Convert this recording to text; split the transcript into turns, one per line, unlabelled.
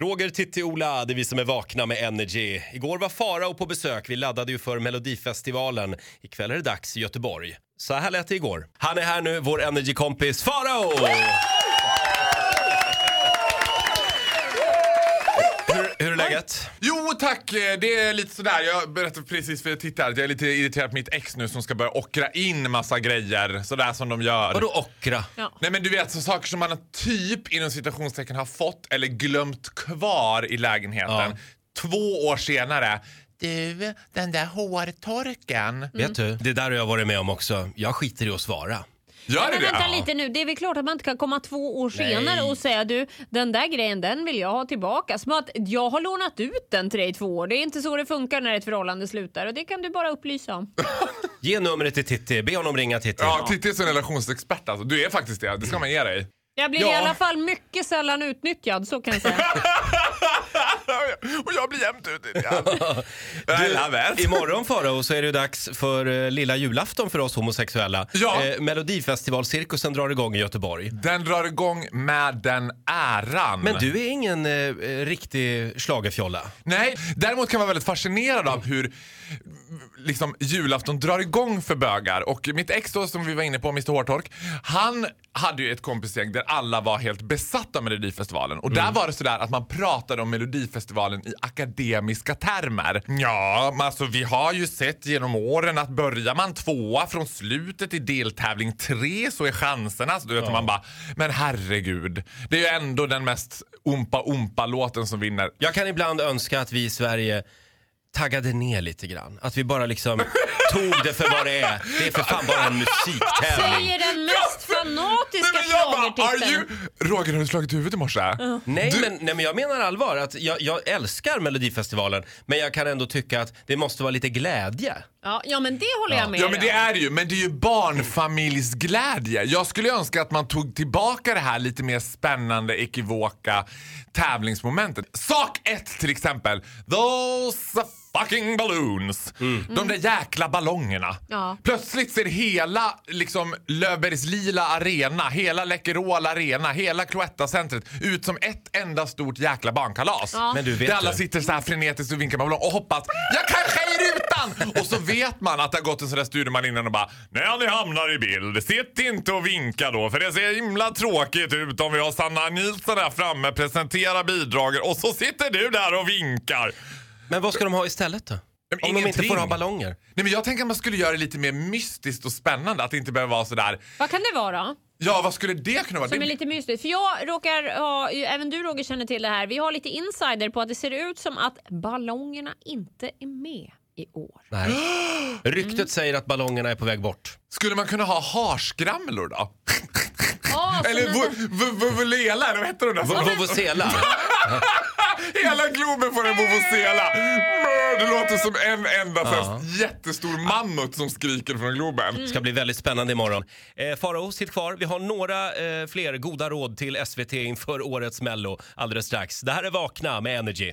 Roger, Titti, Ola, det är vi som är vakna med Energy. Igår var Farao på besök. Vi laddade ju för Melodifestivalen. Ikväll är det dags i Göteborg. Så här lät det igår. Han är här nu, vår Energy-kompis Farao! Hur, hur är läget?
Jo tack, Eh, det är lite sådär. Jag berättade precis för tittare att jag är lite irriterad på mitt ex nu som ska börja ockra in massa grejer. Sådär som de gör.
Vadå ockra?
Nej men du vet så saker som man har typ inom citationstecken har fått eller glömt kvar i lägenheten.
Ja.
Två år senare. Du, den där hårtorken.
Vet du, det där har jag varit med om också. Jag skiter i att svara.
Gör det
Men vänta
det?
lite nu, det är väl klart att man inte kan komma två år
Nej.
senare och säga du, den där grejen den vill jag ha tillbaka. Som att jag har lånat ut den till dig i två år. Det är inte så det funkar när ett förhållande slutar och det kan du bara upplysa om.
Ge numret till Titti. Be honom ringa Titti.
Ja, Titti är som en relationsexpert alltså. Du är faktiskt det, det ska man ge dig.
Jag blir
Ja.
i alla fall mycket sällan utnyttjad, så kan jag säga.
Och jag blir jämt utnyttjad.
Du,
I love it.
imorgon Farao så är det ju dags för eh, lilla julafton för oss homosexuella.
Ja.
Eh, Melodifestivalcirkusen drar igång i Göteborg.
Den drar igång med den äran.
Men du är ingen eh, eh, riktig schlagerfjolla.
Nej, däremot kan man vara väldigt fascinerad av hur liksom, julafton drar igång för bögar. Och mitt ex då, som vi var inne på, Mr Hårtork, han hade ju ett kompisgäng där alla var helt besatta av Melodifestivalen. Och där var det sådär att man pratade om Melodifestivalen i akademiska termer. Ja, men alltså vi har ju sett genom åren att börjar man tvåa från slutet i deltävling tre så är chanserna... Så du vet, man bara, men herregud. Det är ju ändå den mest ompa-ompa-låten som vinner
Jag kan ibland önska att vi i Sverige taggade ner lite grann. Att vi bara liksom tog det för vad det är. Det är för fan bara en musiktävling.
Säger den mest fanatiska
Nej, men jag bara, are you...
schlagertiteln.
Roger, har du slagit huvudet i morse?
Nej men, nej men jag menar allvar. Att jag, jag älskar Melodifestivalen men jag kan ändå tycka att det måste vara lite glädje.
Ja, ja, men det håller jag med
Ja men det
om.
är det ju, men det är ju barnfamiljsglädje. Jag skulle önska att man tog tillbaka det här lite mer spännande, ekivoka tävlingsmomentet. Sak ett till exempel, those fucking balloons. De där jäkla ballongerna.
Ja.
Plötsligt ser hela liksom Löfbergs lila arena, hela Läkerol arena, hela Cloetta-centret ut som ett enda stort jäkla barnkalas.
Ja.
Men du, vet
där alla
du?
sitter så här frenetiskt och vinkar med ballong och hoppas jag kanske är i rutan! Och så vet man att det har gått en sån där studieman innan och bara när ni hamnar i bild, sitt inte och vinka då för det ser himla tråkigt ut om vi har Sanna Nilsson här framme, presentera bidraget och så sitter du där och vinkar.
Men vad ska de ha istället då?
Men
Om de inte
ingenting.
får ha ballonger?
Nej men jag tänker att man skulle göra det lite mer mystiskt och spännande, att det inte behöver vara sådär
Vad kan det vara?
ja vad skulle det kunna vara?
Som
Det-
är lite mystiskt. För jag råkar ha, även du Roger känner till det här, vi har lite insider på att det ser ut som att ballongerna inte är med i år.
Nej. Ryktet säger att ballongerna är på väg bort.
Skulle man kunna ha harskramlor då?
Ah, så
Eller
när-
vu- vu- vuvulela, eller vad heter de där?
V- Vuvuzela.
Hela Globen får en vuvuzela. Brr, Det låter som en enda så här jättestor mammut som skriker från Globen.
Det ska bli väldigt spännande imorgon. Eh, Farao, sitt kvar. Vi har några eh, fler goda råd till SVT inför årets Mello alldeles strax. Det här är Vakna med Energy.